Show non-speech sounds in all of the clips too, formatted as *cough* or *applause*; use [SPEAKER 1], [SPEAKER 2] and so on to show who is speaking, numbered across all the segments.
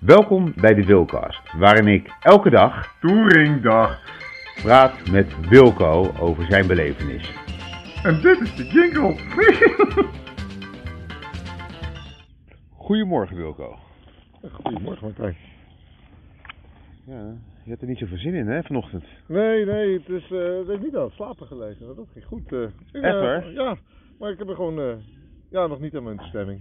[SPEAKER 1] Welkom bij de Wilcast, waarin ik elke dag
[SPEAKER 2] Touringdag.
[SPEAKER 1] praat met Wilco over zijn belevenis.
[SPEAKER 2] En dit is de jingle.
[SPEAKER 1] *laughs* Goedemorgen Wilco.
[SPEAKER 2] Goedemorgen Martijn.
[SPEAKER 1] Ja, je hebt er niet zoveel zin in hè, vanochtend.
[SPEAKER 2] Nee, nee, het is, eh, het is niet aan het slapen gelegen. hoor. Dat ging goed. eh. Ik, eh,
[SPEAKER 1] Echt waar?
[SPEAKER 2] Ja, maar ik heb er gewoon eh, ja, nog niet aan mijn stemming.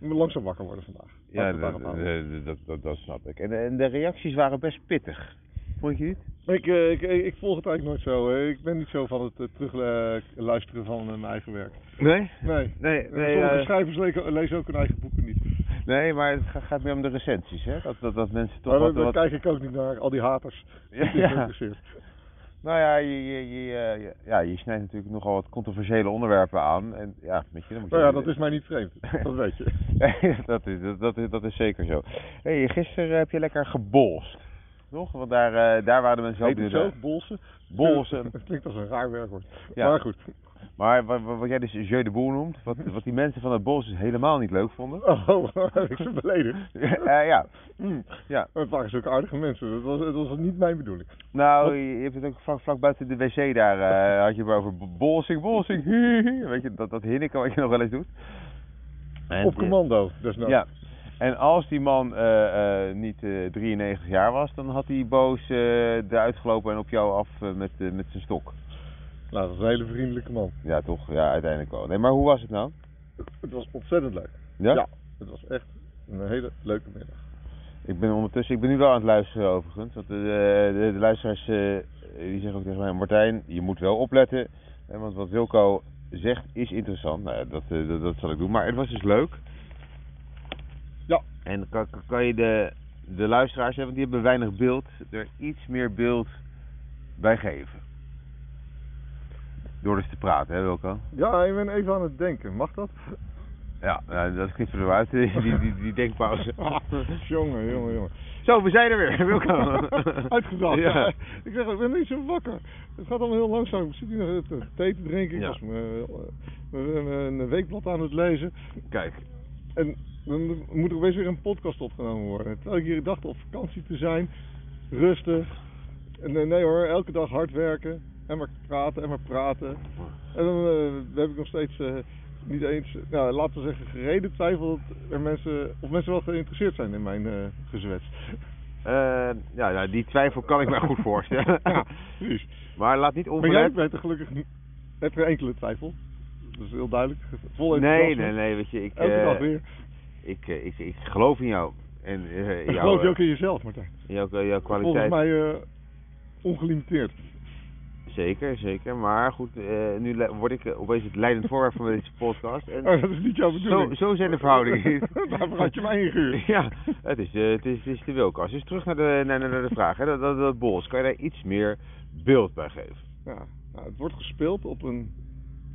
[SPEAKER 2] Ik moet langzaam wakker worden vandaag. Laten we
[SPEAKER 1] Ja,
[SPEAKER 2] het
[SPEAKER 1] dat,
[SPEAKER 2] daarop houden.
[SPEAKER 1] dat, dat, dat, dat snap ik. En, en de reacties waren best pittig. Vond je niet?
[SPEAKER 2] Ik, eh, ik, ik, ik volg het eigenlijk nooit zo. hè. Ik ben niet zo van het terugluisteren van eh, mijn eigen werk.
[SPEAKER 1] Nee?
[SPEAKER 2] Nee.
[SPEAKER 1] Nee, nee,
[SPEAKER 2] Sommige
[SPEAKER 1] eh,
[SPEAKER 2] schrijvers le- lezen ook hun eigen boeken niet.
[SPEAKER 1] nee maar het ga- gaat meer om de recensies hè. Dat, dat, dat mensen toch
[SPEAKER 2] Maar daar
[SPEAKER 1] wat...
[SPEAKER 2] daar
[SPEAKER 1] wat...
[SPEAKER 2] kijk ik ook niet naar. Al die haters.
[SPEAKER 1] Ja,
[SPEAKER 2] Die
[SPEAKER 1] ja. *laughs*
[SPEAKER 2] geïnteresseerd.
[SPEAKER 1] Nou ja je, je, je, eh, je- ja, je snijdt natuurlijk nogal wat controversiële onderwerpen aan. En ja, weet je, dan moet je...
[SPEAKER 2] Nou ja, dat is mij niet vreemd. Dat weet
[SPEAKER 1] *laughs*
[SPEAKER 2] je.
[SPEAKER 1] Nee, dat, is, dat, dat, is, dat is zeker zo. Hey, gisteren heb je lekker gebolst. Toch? Want daar, eh, daar waren de mensen ook eh,
[SPEAKER 2] Heet het
[SPEAKER 1] benieuwd
[SPEAKER 2] zo?
[SPEAKER 1] naar.
[SPEAKER 2] Bolsen? *laughs*
[SPEAKER 1] Bolsen.
[SPEAKER 2] Het klinkt als een raar werkwoord.
[SPEAKER 1] Ja.
[SPEAKER 2] Maar goed.
[SPEAKER 1] Maar wat, wat jij dus jeu de boel noemt, wat, wat die mensen van het bos dus helemaal niet leuk vonden.
[SPEAKER 2] Oh, *laughs* heb ik ze beledigd?
[SPEAKER 1] Eh, *laughs* ja,
[SPEAKER 2] Mm.
[SPEAKER 1] ja.
[SPEAKER 2] Het waren zulke aardige mensen. Dat was, het was niet mijn bedoeling.
[SPEAKER 1] Nou, je je hebt het ook vlak, vlak buiten de wc daar, *laughs* eh, had je het over b- bolsing, *laughs* bolsing. Weet je, dat, dat hinniken wat je nog wel eens doet. En, eh,
[SPEAKER 2] Op commando, desnoods.
[SPEAKER 1] Ja. En als die man eh, eh, niet eh, 93 jaar was, dan had hij boos eh eruit gelopen en op jou af eh, met, eh, met zijn stok.
[SPEAKER 2] Nou, dat was een hele vriendelijke man.
[SPEAKER 1] Ja, toch? Ja, uiteindelijk wel. Nee, maar hoe was het nou?
[SPEAKER 2] Het was ontzettend leuk.
[SPEAKER 1] Ja?
[SPEAKER 2] Het was echt een hele leuke middag.
[SPEAKER 1] Ik ben ondertussen, ik ben nu wel aan het luisteren overigens. Want de, de, de luisteraars eh, die zeggen ook tegen mij, Martijn, je moet wel opletten. Hè, want wat Wilco zegt is interessant. Nou ja, dat, eh, dat, dat zal ik doen. Maar het was dus leuk.
[SPEAKER 2] Ja.
[SPEAKER 1] En kan, kan- kan je de, de luisteraars, hè, want die hebben weinig beeld, er iets meer beeld bij geven? Door dus te praten, hè Wilco?
[SPEAKER 2] Ja, ik ben even aan het denken. Mag dat?
[SPEAKER 1] Ja, nou, dat knippen we eruit, *laughs* die, die, die, die denkpauze.
[SPEAKER 2] *laughs* Ah, jongen, jongen, jongen.
[SPEAKER 1] Zo, we zijn er
[SPEAKER 2] *laughs*
[SPEAKER 1] weer. Welkom.
[SPEAKER 2] Uitgedacht.
[SPEAKER 1] Ja.
[SPEAKER 2] Ja. Ik zeg, ik ben niet zo wakker. Het gaat allemaal heel langzaam. Ik zit hier nog eh, thee te drinken. Ik
[SPEAKER 1] Ja.
[SPEAKER 2] was mijn, eh, mijn- mijn weekblad aan het lezen.
[SPEAKER 1] Kijk,
[SPEAKER 2] En dan moet er opeens weer een podcast opgenomen worden. Terwijl ik hier dacht op vakantie te zijn, rustig. En eh, nee hoor, elke dag hard werken. En maar praten, en maar praten. En dan eh, heb ik nog steeds eh, niet eens, eh, nou, laten we zeggen, gereden twijfel dat er mensen, of mensen wel geïnteresseerd zijn in mijn eh gezwets.
[SPEAKER 1] eh, ja, nou, die twijfel kan ik mij goed voorstellen.
[SPEAKER 2] *laughs* ja, precies.
[SPEAKER 1] maar laat niet
[SPEAKER 2] Maar jij
[SPEAKER 1] onverlet.
[SPEAKER 2] bent er gelukkig niet, heb geen enkele twijfel. Dat is heel duidelijk. Vol
[SPEAKER 1] Nee,
[SPEAKER 2] enthousiasme.
[SPEAKER 1] nee, nee, weet je, ik,
[SPEAKER 2] Elke
[SPEAKER 1] eh,
[SPEAKER 2] dag weer.
[SPEAKER 1] ik, eh, ik, ik geloof in jou. En eh,
[SPEAKER 2] Ik
[SPEAKER 1] jouw,
[SPEAKER 2] geloof je ook
[SPEAKER 1] eh,
[SPEAKER 2] in jezelf, Martijn.
[SPEAKER 1] jouw, eh, jouw kwaliteit.
[SPEAKER 2] Volgens mij eh, ongelimiteerd.
[SPEAKER 1] Zeker, zeker. Maar goed, eh, nu le- word ik eh, opeens het leidend voorwerp van deze podcast. En
[SPEAKER 2] Oh, dat is niet jouw bedoeling.
[SPEAKER 1] Zo, zo zijn de verhoudingen.
[SPEAKER 2] *laughs* Daarvoor had je mij
[SPEAKER 1] *laughs*
[SPEAKER 2] ingehuurd.
[SPEAKER 1] Ja, het is, eh, het is, het is de wilkast. Dus terug naar de, naar, naar naar de vraag. Hè. Dat, dat, dat Bols, kan je daar iets meer beeld bij geven?
[SPEAKER 2] Ja, nou, het wordt gespeeld op een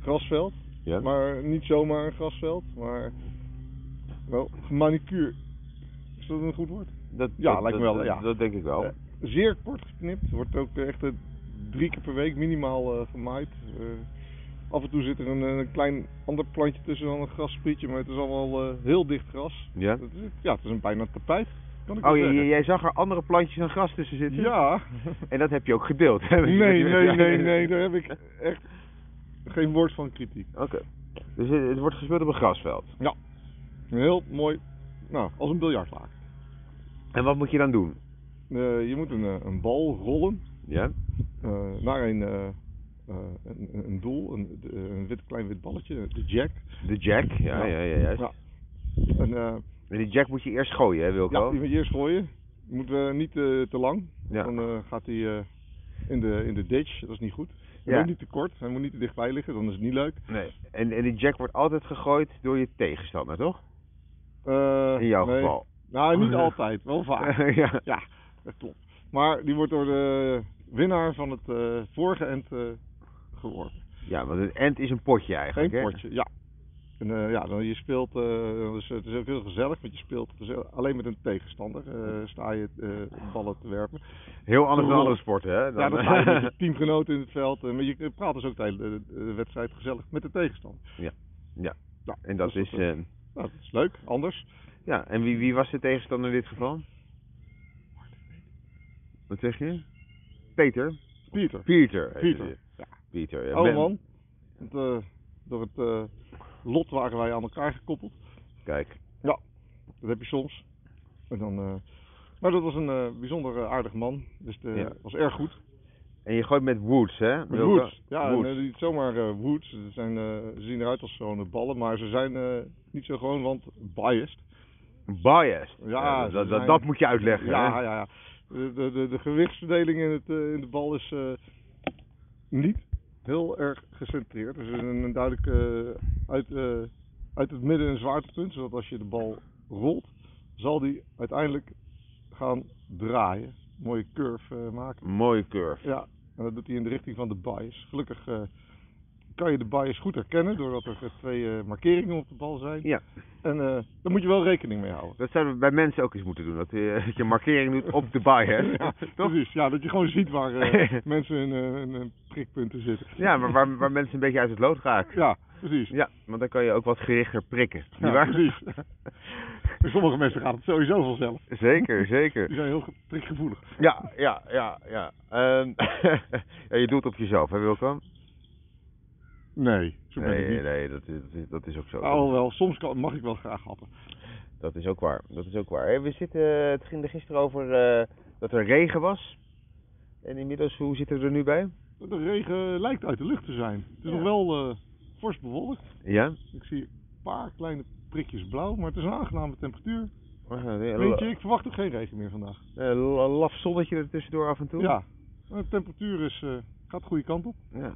[SPEAKER 2] grasveld.
[SPEAKER 1] Ja?
[SPEAKER 2] Maar niet zomaar een grasveld, maar wel gemanicuur. Is dat een goed woord?
[SPEAKER 1] dat,
[SPEAKER 2] ja,
[SPEAKER 1] dat-
[SPEAKER 2] lijkt me wel,
[SPEAKER 1] dat-
[SPEAKER 2] ja.
[SPEAKER 1] Dat denk ik wel.
[SPEAKER 2] Eh, zeer kort geknipt. Wordt ook echt eh, drie keer per week minimaal eh, gemaaid. Eh, af en toe zit er een, eh, een klein ander plantje tussen dan een grassprietje, maar het is allemaal eh, heel dicht gras.
[SPEAKER 1] Ja?
[SPEAKER 2] Het is, ja, het is een bijna tapijt. Kan ik
[SPEAKER 1] Oh,
[SPEAKER 2] wel
[SPEAKER 1] j- j-
[SPEAKER 2] zeggen.
[SPEAKER 1] jij zag er andere plantjes en gras tussen zitten?
[SPEAKER 2] Ja.
[SPEAKER 1] En dat heb je ook gedeeld, hè?
[SPEAKER 2] Nee, nee, nee, nee, daar heb ik echt geen woord van kritiek.
[SPEAKER 1] Oké. Dus het, het wordt gespeeld op een grasveld.
[SPEAKER 2] Een heel mooi, nou, als een biljartlaag.
[SPEAKER 1] En wat moet je dan doen?
[SPEAKER 2] Eh, je moet een, eh, een bal rollen
[SPEAKER 1] Ja?
[SPEAKER 2] eh, naar een, eh, eh, een, een- een doel, een, de- een wit, klein wit balletje, de jack.
[SPEAKER 1] De jack, ja, ja, ja, juist.
[SPEAKER 2] Ja. En, eh,
[SPEAKER 1] En die jack moet je eerst gooien, hè,
[SPEAKER 2] ja,
[SPEAKER 1] Wilco?
[SPEAKER 2] die moet je eerst gooien. Je moet eh, niet eh, te lang,
[SPEAKER 1] Ja.
[SPEAKER 2] dan eh, gaat hij eh, in, de, in de ditch, dat is niet goed. Hij
[SPEAKER 1] Ja.
[SPEAKER 2] moet niet te kort, hij moet niet te dichtbij liggen, dan is het niet leuk.
[SPEAKER 1] Nee. En, en die jack wordt altijd gegooid door je tegenstander, toch?
[SPEAKER 2] Eh,
[SPEAKER 1] In jouw
[SPEAKER 2] nee.
[SPEAKER 1] geval.
[SPEAKER 2] Nou, *laughs* niet altijd, wel vaak.
[SPEAKER 1] Ah. *laughs* ja.
[SPEAKER 2] Ja, dat klopt. Maar die wordt door de winnaar van het eh, vorige end eh, geworpen.
[SPEAKER 1] ja, want een end is een potje
[SPEAKER 2] Geen
[SPEAKER 1] eigenlijk, hè?
[SPEAKER 2] potje, ja. En eh, ja, dan je speelt, eh, dus, het is ook heel gezellig, want je speelt geze- alleen met een tegenstander, eh, sta je eh, ballen te werpen.
[SPEAKER 1] Heel anders dan eh,
[SPEAKER 2] Rol.
[SPEAKER 1] andere sporten, hè?
[SPEAKER 2] ja, dan sta
[SPEAKER 1] *laughs*
[SPEAKER 2] je met je teamgenoten in het veld, eh, maar je praat dus ook de hele eh, de wedstrijd gezellig met de tegenstander.
[SPEAKER 1] en dat
[SPEAKER 2] dat
[SPEAKER 1] is...
[SPEAKER 2] is wat,
[SPEAKER 1] eh,
[SPEAKER 2] Nou, dat is leuk, anders.
[SPEAKER 1] ja, en wie, wie was de tegenstander in dit geval? Wat zeg je? Peter?
[SPEAKER 2] Pieter.
[SPEAKER 1] Pieter. heette
[SPEAKER 2] Pieter.
[SPEAKER 1] die. Ja, Pieter. ja.
[SPEAKER 2] Oude
[SPEAKER 1] Ben-
[SPEAKER 2] man. Want, eh, door het eh, lot waren wij aan elkaar gekoppeld.
[SPEAKER 1] Kijk.
[SPEAKER 2] Dat heb je soms. En dan, eh, maar dat was een eh, bijzonder eh, aardig man. Dus de,
[SPEAKER 1] Ja.
[SPEAKER 2] was erg goed.
[SPEAKER 1] En je gooit met Woods, hè?
[SPEAKER 2] Met
[SPEAKER 1] Wilco?
[SPEAKER 2] Woods. Ja,
[SPEAKER 1] Woods.
[SPEAKER 2] en, eh, niet zomaar eh, Woods. Ze, zijn, eh, ze zien eruit als gewone ballen, maar ze zijn eh, niet zo gewoon, want biased.
[SPEAKER 1] Biased.
[SPEAKER 2] eh, Ja,
[SPEAKER 1] Ja, dat,
[SPEAKER 2] ze
[SPEAKER 1] dat,
[SPEAKER 2] zijn-
[SPEAKER 1] dat moet je uitleggen, hè?
[SPEAKER 2] ja, ja, ja. De, de, de, de gewichtsverdeling in, het, eh, in de bal is eh, niet heel erg gecentreerd. Dus Er is een, een duidelijk eh, uit, eh, uit het midden een zwaartepunt, zodat als je de bal rolt, zal die uiteindelijk gaan draaien. Een mooie curve eh, maken.
[SPEAKER 1] Mooie curve.
[SPEAKER 2] Ja, en dat doet hij in de richting van de bias. Gelukkig eh, kan je de bias goed herkennen doordat er eh, twee eh, markeringen op de bal zijn.
[SPEAKER 1] Ja.
[SPEAKER 2] En eh, daar moet je wel rekening mee houden.
[SPEAKER 1] Dat zouden we bij mensen ook eens moeten doen. Dat je, *laughs* dat je markering doet op de bias.
[SPEAKER 2] *laughs* Ja,
[SPEAKER 1] *laughs* Toch?
[SPEAKER 2] Precies, ja, dat je gewoon ziet
[SPEAKER 1] *laughs*
[SPEAKER 2] waar eh, mensen hun, eh, hun, hun prikpunten zitten.
[SPEAKER 1] Ja, maar waar, waar mensen een beetje uit het lood raken.
[SPEAKER 2] Ja, precies.
[SPEAKER 1] Ja, want dan kan je ook wat gerichter prikken.
[SPEAKER 2] Ja,
[SPEAKER 1] nietwaar?
[SPEAKER 2] precies. Voor sommige mensen gaat het sowieso vanzelf.
[SPEAKER 1] *laughs* Zeker,
[SPEAKER 2] Die
[SPEAKER 1] zeker.
[SPEAKER 2] zijn heel ge- prikgevoelig.
[SPEAKER 1] Ja, ja, ja, ja. Ehm, *laughs* ja, je doet het op jezelf, hè Wilco?
[SPEAKER 2] Nee, zo ben ik
[SPEAKER 1] Nee,
[SPEAKER 2] niet.
[SPEAKER 1] nee, dat is, dat is, dat is ook zo.
[SPEAKER 2] Alhoewel, soms kan, mag ik wel graag happen.
[SPEAKER 1] Dat is ook waar. Dat is ook waar. Hey, we zitten, het ging er gisteren over eh, dat er regen was. En inmiddels, hoe zitten we er nu bij?
[SPEAKER 2] De regen lijkt uit de lucht te zijn. Het
[SPEAKER 1] Ja.
[SPEAKER 2] is nog wel eh fors bewolkt.
[SPEAKER 1] Ja.
[SPEAKER 2] Ik zie een paar kleine prikjes blauw, maar het is een aangename temperatuur.
[SPEAKER 1] Eh,
[SPEAKER 2] Weet je,
[SPEAKER 1] Een
[SPEAKER 2] ik verwacht er geen regen meer vandaag.
[SPEAKER 1] eh, laf zonnetje er tussendoor af en toe.
[SPEAKER 2] Ja, de temperatuur is, eh, gaat de goede kant op.
[SPEAKER 1] Ja.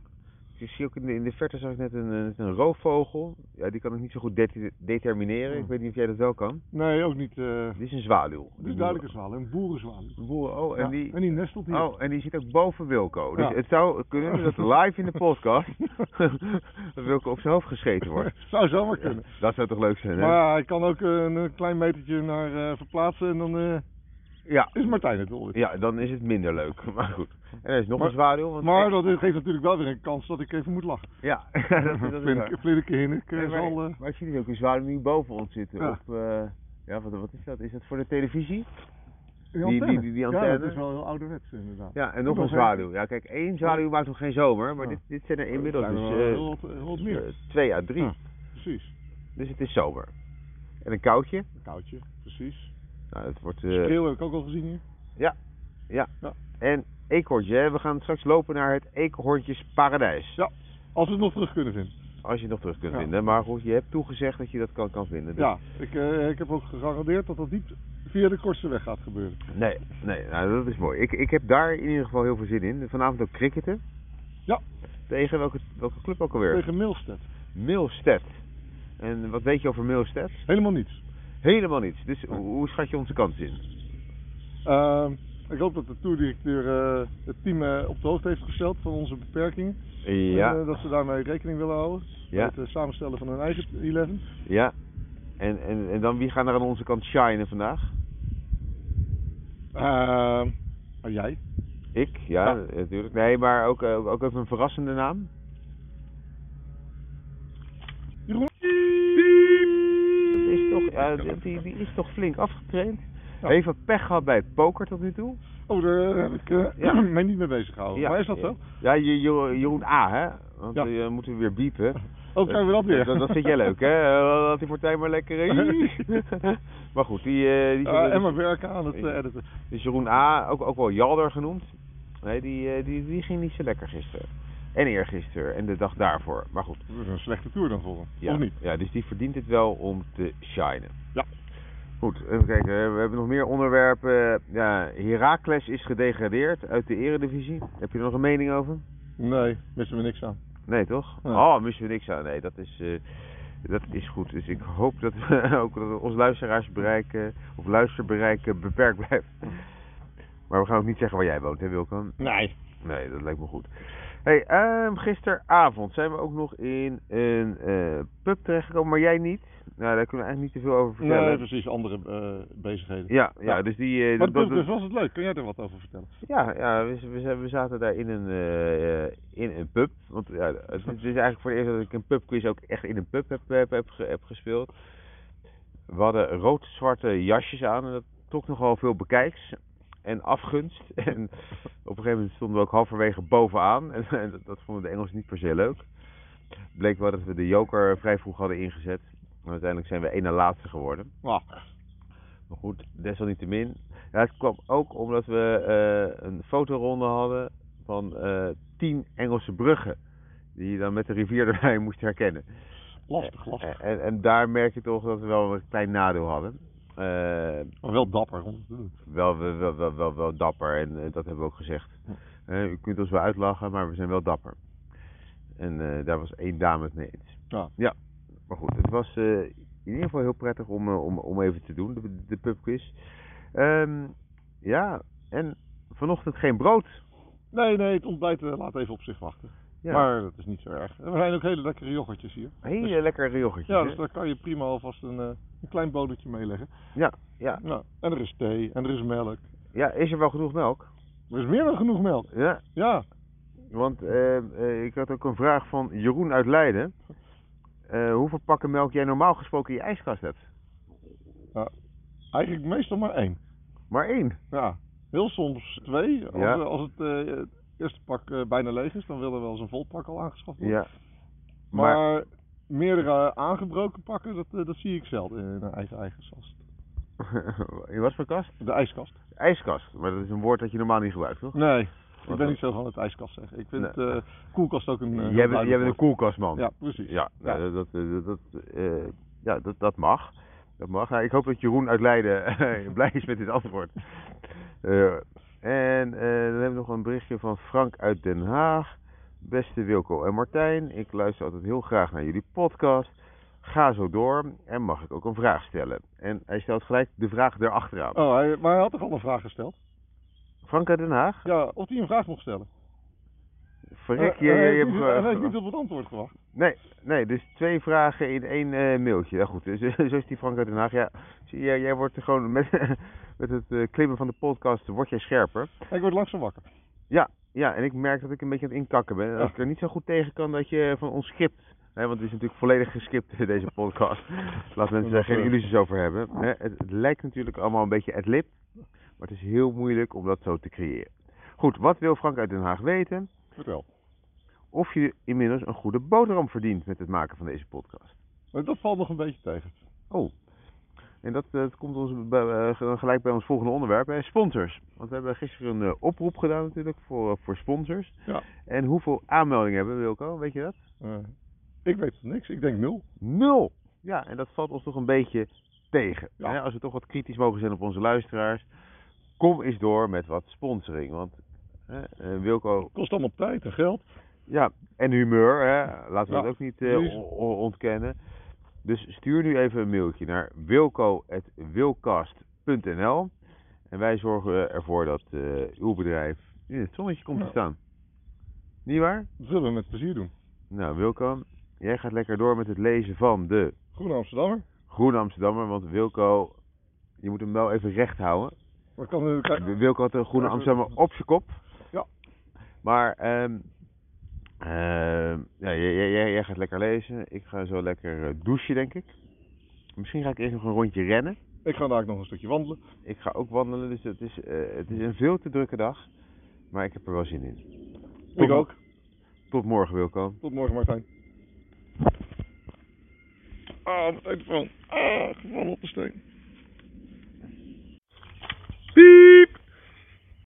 [SPEAKER 1] Ik zie ook in de, in de verte zag ik net een, een, een roofvogel. Ja, die kan ik niet zo goed dete- determineren. Ik weet niet of jij dat wel kan.
[SPEAKER 2] Nee, ook niet. eh
[SPEAKER 1] Dit is een zwaluw.
[SPEAKER 2] het is duidelijk een zwaluw, een boerenzwaluw.
[SPEAKER 1] Een boer- Oh, en
[SPEAKER 2] Ja,
[SPEAKER 1] die...
[SPEAKER 2] en die nestelt hier.
[SPEAKER 1] Oh, en die zit ook boven Wilco. Dus
[SPEAKER 2] Ja.
[SPEAKER 1] het zou kunnen dat live in de
[SPEAKER 2] *laughs*
[SPEAKER 1] podcast dat Wilco op zijn hoofd gescheten wordt.
[SPEAKER 2] Zou zomaar kunnen.
[SPEAKER 1] Dat zou toch leuk zijn, hè?
[SPEAKER 2] Maar ja, hij kan ook eh, een, eh, klein metertje naar eh, verplaatsen en dan eh,
[SPEAKER 1] Ja,
[SPEAKER 2] is Martijn het alweer.
[SPEAKER 1] Ja, dan is het minder leuk. *laughs* Maar goed. En er is nog
[SPEAKER 2] Maar-
[SPEAKER 1] een zwaluw. Want
[SPEAKER 2] Maar dat geeft natuurlijk wel weer een kans dat ik even moet lachen.
[SPEAKER 1] Ja, *laughs* dat, dat is waar.
[SPEAKER 2] Flinke- Flinke Hinnik eh,
[SPEAKER 1] Nee, maar,
[SPEAKER 2] zal... eh,
[SPEAKER 1] maar ik zie dus ook een zwaluw nu boven ons zitten.
[SPEAKER 2] Ja.
[SPEAKER 1] Op, eh, ja, wat, wat is dat? Is dat voor de televisie?
[SPEAKER 2] die,
[SPEAKER 1] die- die- die
[SPEAKER 2] Ja, dat
[SPEAKER 1] antenne.
[SPEAKER 2] is wel heel ouderwets inderdaad.
[SPEAKER 1] Ja, en nog
[SPEAKER 2] Nog
[SPEAKER 1] een
[SPEAKER 2] een.
[SPEAKER 1] zwaluw. Ja, kijk, één zwaluw maakt nog geen zomer. Maar
[SPEAKER 2] Ja.
[SPEAKER 1] dit, dit zijn er inmiddels
[SPEAKER 2] Er zijn
[SPEAKER 1] dus
[SPEAKER 2] er wel
[SPEAKER 1] eh,
[SPEAKER 2] heel wat, heel wat meer.
[SPEAKER 1] eh, twee à drie.
[SPEAKER 2] Ja. Precies.
[SPEAKER 1] Dus het is zomer. En een koudje.
[SPEAKER 2] Een koudje, precies.
[SPEAKER 1] Nou, het wordt... eh,
[SPEAKER 2] Spreeuw heb ik ook al gezien hier.
[SPEAKER 1] en eekhoortje, hè. We gaan straks lopen naar het eekhoortjesparadijs.
[SPEAKER 2] Ja. Als we het nog terug kunnen vinden.
[SPEAKER 1] Als je het nog terug kunt
[SPEAKER 2] Ja.
[SPEAKER 1] vinden. Maar goed, je hebt toegezegd dat je dat kan, kan vinden. Dus
[SPEAKER 2] Ja, ik, eh, ik heb ook gegarandeerd dat dat niet via de kortste weg gaat gebeuren.
[SPEAKER 1] Nee, nee nou, dat is mooi. Ik, ik heb daar in ieder geval heel veel zin in. Vanavond ook cricketen.
[SPEAKER 2] Ja.
[SPEAKER 1] Tegen welke, welke club ook alweer?
[SPEAKER 2] Tegen Milstead.
[SPEAKER 1] Milstead. En wat weet je over Milstead?
[SPEAKER 2] Helemaal niets.
[SPEAKER 1] Helemaal niets. Dus hoe, hoe schat je onze kans in?
[SPEAKER 2] Ehm, ik hoop dat de toerdirecteur eh, het team eh, op de hoogte heeft gesteld van onze beperkingen. En, eh, dat ze daarmee rekening willen houden.
[SPEAKER 1] ja,
[SPEAKER 2] Met het samenstellen van hun eigen 11.
[SPEAKER 1] ja. En, en, en dan wie gaan er aan onze kant shinen vandaag?
[SPEAKER 2] Ehm, en jij?
[SPEAKER 1] Ik? Ja,
[SPEAKER 2] Ja.
[SPEAKER 1] eh, natuurlijk. Nee, maar ook, eh, ook, ook even een verrassende naam.
[SPEAKER 2] Jeroen?
[SPEAKER 1] Dat is toch, ja, die, die is toch flink afgetraind.
[SPEAKER 2] Ja.
[SPEAKER 1] Heeft wat pech gehad bij het poker tot nu toe.
[SPEAKER 2] Oh, daar heb ik eh,
[SPEAKER 1] Ja.
[SPEAKER 2] mij niet *clears throat* mee bezig gehouden.
[SPEAKER 1] Ja.
[SPEAKER 2] Oh, Maar is dat zo?
[SPEAKER 1] Ja, Je- Je- Jeroen A, hè? Want
[SPEAKER 2] Ja.
[SPEAKER 1] eh, we moeten weer biepen.
[SPEAKER 2] *laughs*
[SPEAKER 1] Eh,
[SPEAKER 2] Oh, krijgen we dat weer?
[SPEAKER 1] Dat, dat vind jij leuk, hè? Eh, Laat die partij maar lekker
[SPEAKER 2] *laughs*
[SPEAKER 1] in. maar goed, die, eh, die,
[SPEAKER 2] Eh, en maar werken aan het eh, editen.
[SPEAKER 1] dus Jeroen A, ook, ook wel Jalder genoemd. Nee, die, eh, die, die ging niet zo lekker gisteren. En eergisteren en de dag daarvoor. Maar goed,
[SPEAKER 2] Dat is een slechte tour dan voor hem.
[SPEAKER 1] ja,
[SPEAKER 2] Of niet?
[SPEAKER 1] ja, dus die verdient het wel om te shinen.
[SPEAKER 2] Ja.
[SPEAKER 1] Goed, even kijken. eh, We hebben nog meer onderwerpen. Ja, Heracles is gedegradeerd uit de eredivisie. Heb je er nog een mening over?
[SPEAKER 2] Nee, missen we niks aan.
[SPEAKER 1] Nee, toch?
[SPEAKER 2] Nee.
[SPEAKER 1] Oh, missen we niks aan. Nee, dat is, eh, dat is goed. Dus ik hoop dat, we *laughs* ook dat ons luisteraarsbereik eh, of luisterbereik eh, beperkt blijft. Maar we gaan ook niet zeggen waar jij woont, hè Wilco?
[SPEAKER 2] Nee.
[SPEAKER 1] Nee, dat lijkt me goed. hey, ehm, gisteravond zijn we ook nog in een eh, pub terechtgekomen, maar jij niet. Nou, daar kunnen we eigenlijk niet te veel over
[SPEAKER 2] Nee,
[SPEAKER 1] vertellen.
[SPEAKER 2] precies. Andere eh, bezigheden.
[SPEAKER 1] ja, ja,
[SPEAKER 2] Ja.
[SPEAKER 1] dus die... eh,
[SPEAKER 2] Maar
[SPEAKER 1] dat-
[SPEAKER 2] dus,
[SPEAKER 1] dat-
[SPEAKER 2] dus was het leuk. Kun jij er wat over vertellen?
[SPEAKER 1] ja, ja we, we, zijn- we zaten daar in een, eh, eh, in een pub. Want ja, het, is- het is eigenlijk voor het eerst dat ik een pubquiz ook echt in een pub heb, heb, heb, ge- heb gespeeld. We hadden rood-zwarte jasjes aan en dat trok nogal veel bekijks. en afgunst. *laughs* En op een gegeven moment stonden we ook halverwege bovenaan. En, en dat, dat vonden de Engelsen niet per se leuk. Bleek wel dat we de joker vrij vroeg hadden ingezet. En uiteindelijk zijn we één na laatste geworden.
[SPEAKER 2] Nou,
[SPEAKER 1] Maar goed, desalniettemin. Ja, het kwam ook omdat we eh, een fotoronde hadden van eh tien Engelse bruggen. Die je dan met de rivier *laughs* erbij moest herkennen. Eh,
[SPEAKER 2] lastig, lastig.
[SPEAKER 1] En, en daar merk je toch dat we wel een klein nadeel hadden. Eh,
[SPEAKER 2] Maar wel dapper om het te doen.
[SPEAKER 1] wel, wel, wel, wel, wel, wel dapper en eh, dat hebben we ook gezegd. Eh, u kunt ons wel uitlachen, maar we zijn wel dapper. En eh, daar was één dame het mee eens.
[SPEAKER 2] Ja.
[SPEAKER 1] Maar goed, het was eh, in ieder geval heel prettig om, eh, om, om even te doen, de, de pubquiz. Ehm, ja, en vanochtend geen brood.
[SPEAKER 2] Nee, nee, het ontbijt eh, laat even op zich wachten.
[SPEAKER 1] Ja,
[SPEAKER 2] Maar dat is niet zo erg. En er zijn ook hele lekkere yoghurtjes hier.
[SPEAKER 1] hele
[SPEAKER 2] dus-
[SPEAKER 1] lekkere riogeltjes.
[SPEAKER 2] Ja,
[SPEAKER 1] hè?
[SPEAKER 2] dus daar kan je prima alvast een, eh, een klein botertje mee leggen.
[SPEAKER 1] ja, ja.
[SPEAKER 2] Nou, en er is thee, en er is melk.
[SPEAKER 1] ja, is er wel genoeg melk?
[SPEAKER 2] Er is meer dan genoeg melk.
[SPEAKER 1] Ja,
[SPEAKER 2] Ja,
[SPEAKER 1] want eh, eh, ik had ook een vraag van Jeroen uit Leiden. Eh, hoeveel pakken melk jij normaal gesproken in je ijskast hebt?
[SPEAKER 2] eigenlijk meestal maar één.
[SPEAKER 1] Maar één.
[SPEAKER 2] Ja, heel soms twee. Als,
[SPEAKER 1] Ja.
[SPEAKER 2] eh, als het eh, het eerste pak eh, bijna leeg is, dan wil er wel eens een vol pak al aangeschaft worden.
[SPEAKER 1] Ja.
[SPEAKER 2] Maar,
[SPEAKER 1] Maar, *laughs*
[SPEAKER 2] meerdere aangebroken pakken, dat, eh, dat zie ik zelden in een eigen, eigen kast.
[SPEAKER 1] in wat voor kast?
[SPEAKER 2] De ijskast.
[SPEAKER 1] Ijskast. Maar dat is een woord dat je normaal niet gebruikt, toch?
[SPEAKER 2] Nee, ik
[SPEAKER 1] Wat
[SPEAKER 2] ben
[SPEAKER 1] dan?
[SPEAKER 2] niet zo van het ijskast zeggen. Ik vind
[SPEAKER 1] Nee.
[SPEAKER 2] eh, koelkast ook een... eh, heel
[SPEAKER 1] jij, bent, jij bent een
[SPEAKER 2] duidelijk
[SPEAKER 1] koelkastman.
[SPEAKER 2] woord. Ja, precies.
[SPEAKER 1] Ja, nou,
[SPEAKER 2] Ja.
[SPEAKER 1] Dat, dat, dat, eh, ja dat, dat mag. Dat mag. Nou, ik hoop dat Jeroen uit Leiden *laughs* eh, blij is met dit antwoord. Eh, en eh, dan hebben we nog een berichtje van Frank uit Den Haag. Beste Wilco en Martijn, ik luister altijd heel graag naar jullie podcast. Ga zo door en mag ik ook een vraag stellen? En hij stelt gelijk de vraag erachteraan.
[SPEAKER 2] Oh, hij, maar hij had toch al een vraag gesteld?
[SPEAKER 1] Frank uit Den Haag?
[SPEAKER 2] Ja, of hij een vraag mocht stellen.
[SPEAKER 1] Verrek,
[SPEAKER 2] Eh,
[SPEAKER 1] je, je,
[SPEAKER 2] hij
[SPEAKER 1] je
[SPEAKER 2] heeft
[SPEAKER 1] hebt...
[SPEAKER 2] niet-
[SPEAKER 1] ge-
[SPEAKER 2] hij heeft niet op het antwoord gewacht.
[SPEAKER 1] Nee, nee, dus twee vragen in één eh, mailtje. Ja, goed, dus, *laughs* zo is die Frank uit Den Haag. Ja, zie je, jij wordt er gewoon met, *laughs* met het eh, klimmen van de podcast, word jij scherper.
[SPEAKER 2] Ik word langzaam wakker.
[SPEAKER 1] Ja, en ik merk dat ik een beetje aan het inkakken ben. En dat
[SPEAKER 2] Ja.
[SPEAKER 1] ik er niet zo goed tegen kan dat je van ons skipt. Hè, want het is natuurlijk volledig geskipt, *laughs* deze podcast. Laat mensen daar geen illusies over hebben. Hè, het, het lijkt natuurlijk allemaal een beetje ad lib. Maar het is heel moeilijk om dat zo te creëren. Goed, wat wil Frank uit Den Haag weten?
[SPEAKER 2] Vertel.
[SPEAKER 1] Of je inmiddels een goede boterham verdient met het maken van deze podcast.
[SPEAKER 2] Maar dat valt nog een beetje tegen.
[SPEAKER 1] Oh. En dat, eh, dat komt ons bij, eh, ge- gelijk bij ons volgende onderwerp, hè, sponsors. Want we hebben gisteren een eh, oproep gedaan natuurlijk voor, eh, voor sponsors.
[SPEAKER 2] Ja.
[SPEAKER 1] En hoeveel aanmeldingen hebben we, Wilco? Weet je dat?
[SPEAKER 2] Eh, ik weet van niks. Ik denk nul.
[SPEAKER 1] Nul! Ja, en dat valt ons toch een beetje tegen.
[SPEAKER 2] Ja.
[SPEAKER 1] Hè? Als we toch wat kritisch mogen zijn op onze luisteraars, kom eens door met wat sponsoring. Want hè, eh, Wilco,
[SPEAKER 2] Kost allemaal tijd en geld.
[SPEAKER 1] ja, en humeur, hè? laten we
[SPEAKER 2] Ja,
[SPEAKER 1] dat ook niet eh,
[SPEAKER 2] precies.
[SPEAKER 1] on- on- ontkennen. Dus stuur nu even een mailtje naar wilco.wilcast.nl en wij zorgen ervoor dat eh, uw bedrijf in het zonnetje komt te
[SPEAKER 2] Ja.
[SPEAKER 1] staan. Niet waar?
[SPEAKER 2] Dat zullen we met plezier doen.
[SPEAKER 1] Nou, Wilco, jij gaat lekker door met het lezen van de
[SPEAKER 2] Groene Amsterdammer.
[SPEAKER 1] Groene Amsterdammer, want Wilco, je moet hem wel even recht houden.
[SPEAKER 2] Wat kan er krijgen?
[SPEAKER 1] Wilco had een groene
[SPEAKER 2] Even-
[SPEAKER 1] Amsterdammer op zijn kop.
[SPEAKER 2] Ja.
[SPEAKER 1] Maar ehm ehm, ja, jij, jij- jij- jij gaat lekker lezen. Ik ga zo lekker eh, douchen, denk ik. Misschien ga ik eerst nog een rondje rennen.
[SPEAKER 2] Ik ga daar nog een stukje wandelen.
[SPEAKER 1] Ik ga ook wandelen, dus het is, eh, het is een veel te drukke dag. Maar ik heb er wel zin in.
[SPEAKER 2] Ik ook.
[SPEAKER 1] Tot morgen, Wilco.
[SPEAKER 2] Tot morgen, Martijn. Ah, mijn telefoon. Ah, gevallen op de steen.